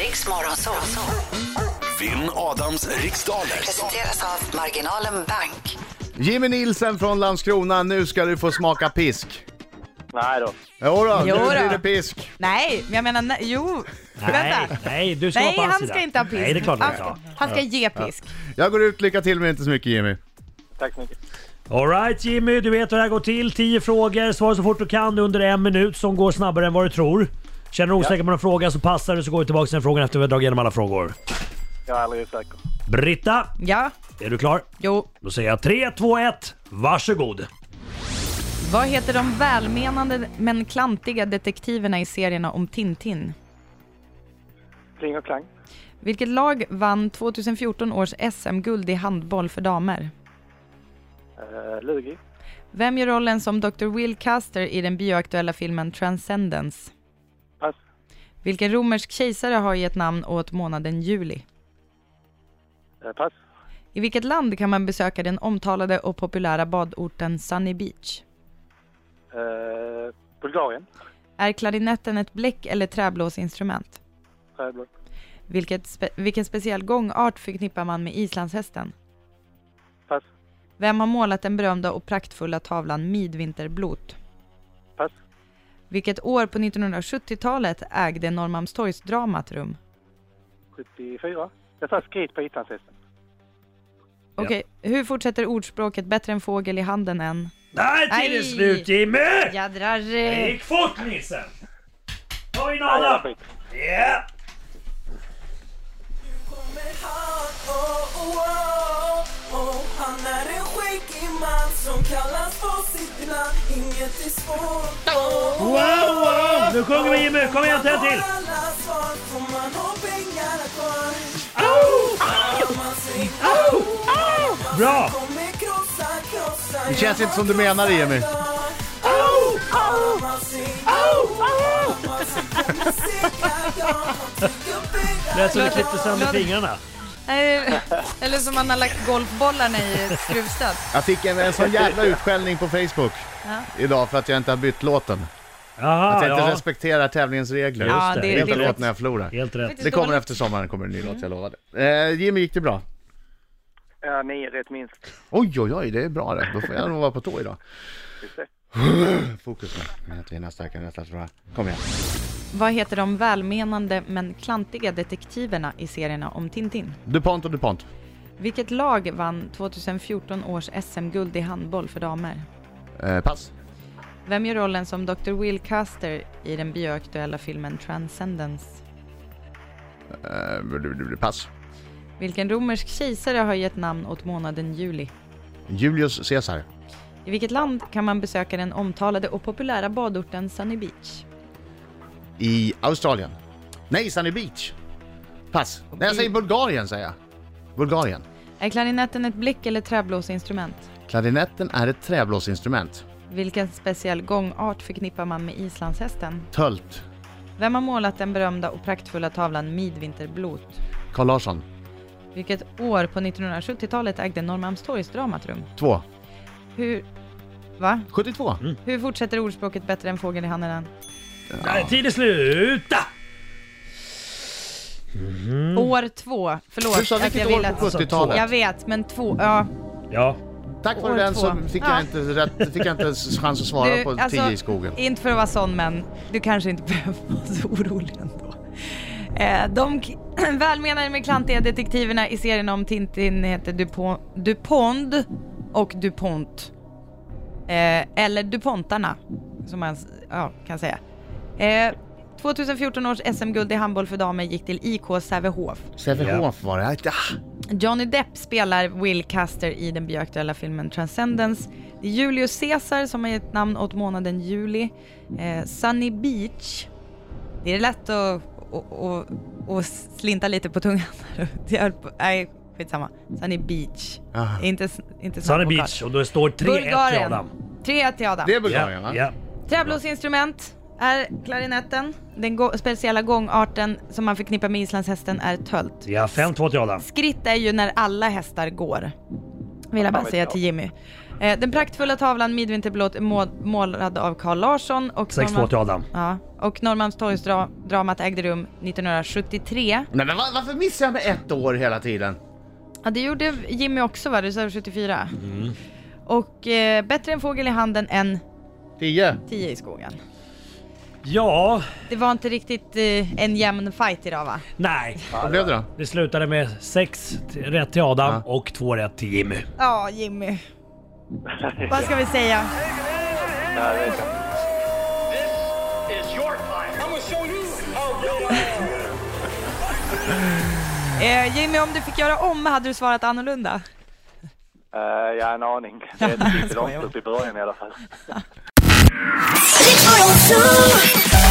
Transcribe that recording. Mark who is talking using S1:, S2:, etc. S1: Riks Morgonzoo
S2: Vinn Adams riksdaler.
S1: presenteras av Marginalen Bank.
S3: Jimmy Nilsen från Landskrona, nu ska du få smaka pisk.
S4: Nej då.
S3: Jodå, nu
S5: Jodå.
S3: blir det pisk.
S5: Nej, men jag menar, nej, jo.
S6: Nej,
S5: Vänta.
S6: nej, du ska vara
S5: Nej,
S6: på hans
S5: han
S6: sida.
S5: ska inte ha pisk.
S6: Nej, det är klart han
S5: han,
S6: ska.
S5: ska, han ska ge pisk.
S3: Jag går ut, lycka till men inte så mycket Jimmy.
S4: Tack så mycket.
S6: Alright Jimmy, du vet hur det här går till. 10 frågor, svara så fort du kan under en minut som går snabbare än vad du tror. Känner du osäker på någon fråga så passar du så går vi tillbaka till den frågan efter vi har dragit igenom alla frågor.
S4: Jag är alldeles säker.
S6: Britta,
S5: Ja,
S6: är du klar?
S5: jo.
S6: Då säger jag 3, 2, 1, varsågod.
S5: Vad heter de välmenande men klantiga detektiverna i serierna om Tintin?
S4: Kling och klang.
S5: Vilket lag vann 2014 års SM-guld i handboll för damer?
S4: Uh, Lugi.
S5: Vem gör rollen som Dr. Will Caster i den bioaktuella filmen Transcendence?
S4: Pass.
S5: Vilken romersk kejsare har gett namn åt månaden juli?
S4: Eh, pass.
S5: I vilket land kan man besöka den omtalade och populära badorten Sunny Beach?
S4: Eh, Bulgarien.
S5: Är klarinetten ett bläck eller träblåsinstrument?
S4: Träblå.
S5: Vilket spe- vilken speciell gångart förknippar man med islandshästen?
S4: Pass.
S5: Vem har målat den berömda och praktfulla tavlan Midvinterblot?
S4: Pass.
S5: Vilket år på 1970-talet ägde Norrmalmstorgsdramat rum?
S4: 74. Jag sa skrit på islandshästen.
S5: Okej, hur fortsätter ordspråket bättre en fågel i handen än...
S6: Där tiden är
S5: Nej.
S6: slut Jimmy!
S5: Jädrar!
S6: Det
S5: eh,
S6: gick fort Nissen! Ta in
S4: Nej, jag
S6: alla!
S4: skit.
S6: Yeah.
S7: Kommer han, oh, oh, oh, oh. Han är en skäggig man som kallas på sitt land Inget är svårt, oh,
S6: Wow, wow! Nu sjunger vi Jimmy, kom igen en till!
S7: alla svar Får man ha pengarna kvar Om man säger
S6: Bra!
S7: kommer krossa, krossa
S3: Det känns inte som du menar det Jimmy.
S7: Om man säger Om man säger kommer segra, ja Han tycker pengar
S6: Lät som du klippte sönder fingrarna.
S5: Nej, Eller som man har lagt golfbollarna i ett skruvstöd.
S3: Jag fick en, en sån jävla utskällning på Facebook idag för att jag inte har bytt låten.
S6: Jaha,
S3: Att jag inte
S6: ja.
S3: respekterar tävlingens regler.
S6: Ja,
S3: Just
S6: det är
S3: Jag hittar
S6: riktigt.
S3: låt när jag förlorar.
S6: Helt rätt.
S3: Det kommer efter sommaren kommer en ny
S6: Mm.
S3: låt, jag lovade. Eh, Jimmy, gick det bra?
S4: Ja, nio rätt minst.
S3: Oj, oj, oj, det är bra det. Då får jag nog vara på tå idag. Fokus nu. Jag tar in Nästa vecka, nästa vecka. Kom igen.
S5: Vad heter de välmenande men klantiga detektiverna i serierna om Tintin?
S3: DuPont och DuPont.
S5: Vilket lag vann 2014 års SM-guld i handboll för damer?
S3: Eh, pass.
S5: Vem gör rollen som Dr. Will Caster i den bioaktuella filmen Transcendence?
S3: Eh, du- du- du- pass.
S5: Vilken romersk kejsare har gett namn åt månaden juli?
S3: Julius Caesar.
S5: I vilket land kan man besöka den omtalade och populära badorten Sunny Beach?
S3: I Australien. Nej, Sunny Beach. Pass. Nej, jag säger Bulgarien säger jag. Bulgarien.
S5: Är klarinetten ett blick eller träblåsinstrument?
S3: Klarinetten är ett träblåsinstrument.
S5: Vilken speciell gångart förknippar man med islandshästen?
S3: Tölt.
S5: Vem har målat den berömda och praktfulla tavlan Midvinterblot?
S3: Carl Larsson.
S5: Vilket år på 1970-talet ägde Norrmalmstorgsdramat rum?
S3: Två.
S5: Hur... Va?
S3: 72.
S5: Hur fortsätter ordspråket bättre än fågel i handen än?
S6: Nej, Tid är slut!
S5: År två. Förlåt
S3: Mm. Du sa
S5: att jag
S3: vilket
S5: vill
S3: år på
S5: att...
S3: 70-talet?
S5: Jag vet, men två... Ja.
S6: Ja,
S3: Tack vare
S5: år
S3: den
S5: två.
S3: så fick jag
S5: Ja. alltså,
S3: inte, rätt, fick jag inte ens chans att svara på 10 i skogen.
S5: inte för att vara sån men du kanske inte behöver vara så orolig ändå. Eh, de k- välmenande men klantiga detektiverna i serien om Tintin heter Dupont, Dupond och Dupont. Eh, eller Dupontarna, som man s- ja, kan säga. Eh, 2014 års SM-guld i handboll för damer gick till IK Sävehof.
S3: Sävehof var det. Ah.
S5: Johnny Depp spelar Will Caster i den bioaktuella filmen Transcendence. Det är Julius Caesar som har gett namn åt månaden juli. Eh, Sunny Beach. Det är lätt att, att, att, att slinta lite på tungan. Det är, nej, skitsamma. Sunny Beach.
S3: Ah.
S5: Inte, inte
S6: Sunny
S5: snabbvokal.
S6: Beach och då står 3-1 till
S5: Bulgarien.
S6: Adam.
S5: 3-1 till Adam.
S3: Det är Bulgarien va?
S6: ja.
S5: Träblåsinstrument är klarinetten. Den gå- speciella gångarten som man förknippar med islandshästen är tölt.
S6: ja 5-2 till Adam.
S5: Skritt är ju när alla hästar går. Vill jag bara
S4: vet
S5: säga
S4: jag.
S5: till Jimmy. Eh, den praktfulla tavlan Midvinterblått är må- målad av Carl Larsson och
S6: 6-2 till Adam.
S5: Ja, och Norrmalmstorgsdramat ägde rum 1973.
S3: Nej, men va- varför missar jag med ett år hela tiden?
S5: Ja, det gjorde Jimmy också va? Du sa 74? Och eh, bättre en fågel i handen än
S3: Tio.
S5: tio i skogen.
S6: Ja,
S5: Det var inte riktigt eh, en jämn fight idag va?
S6: nej.
S3: Vad blev det då?
S6: Det slutade med 6 rätt till Adam
S3: Ja.
S6: och 2 rätt till Jimmy.
S5: Ja, Jimmy. Vad ska vi säga? Eh, Jimmy, om du fick göra om, hade du svarat annorlunda?
S4: Eh, jag har en aning. Det är inte långt upp i början i alla fall.
S8: Riks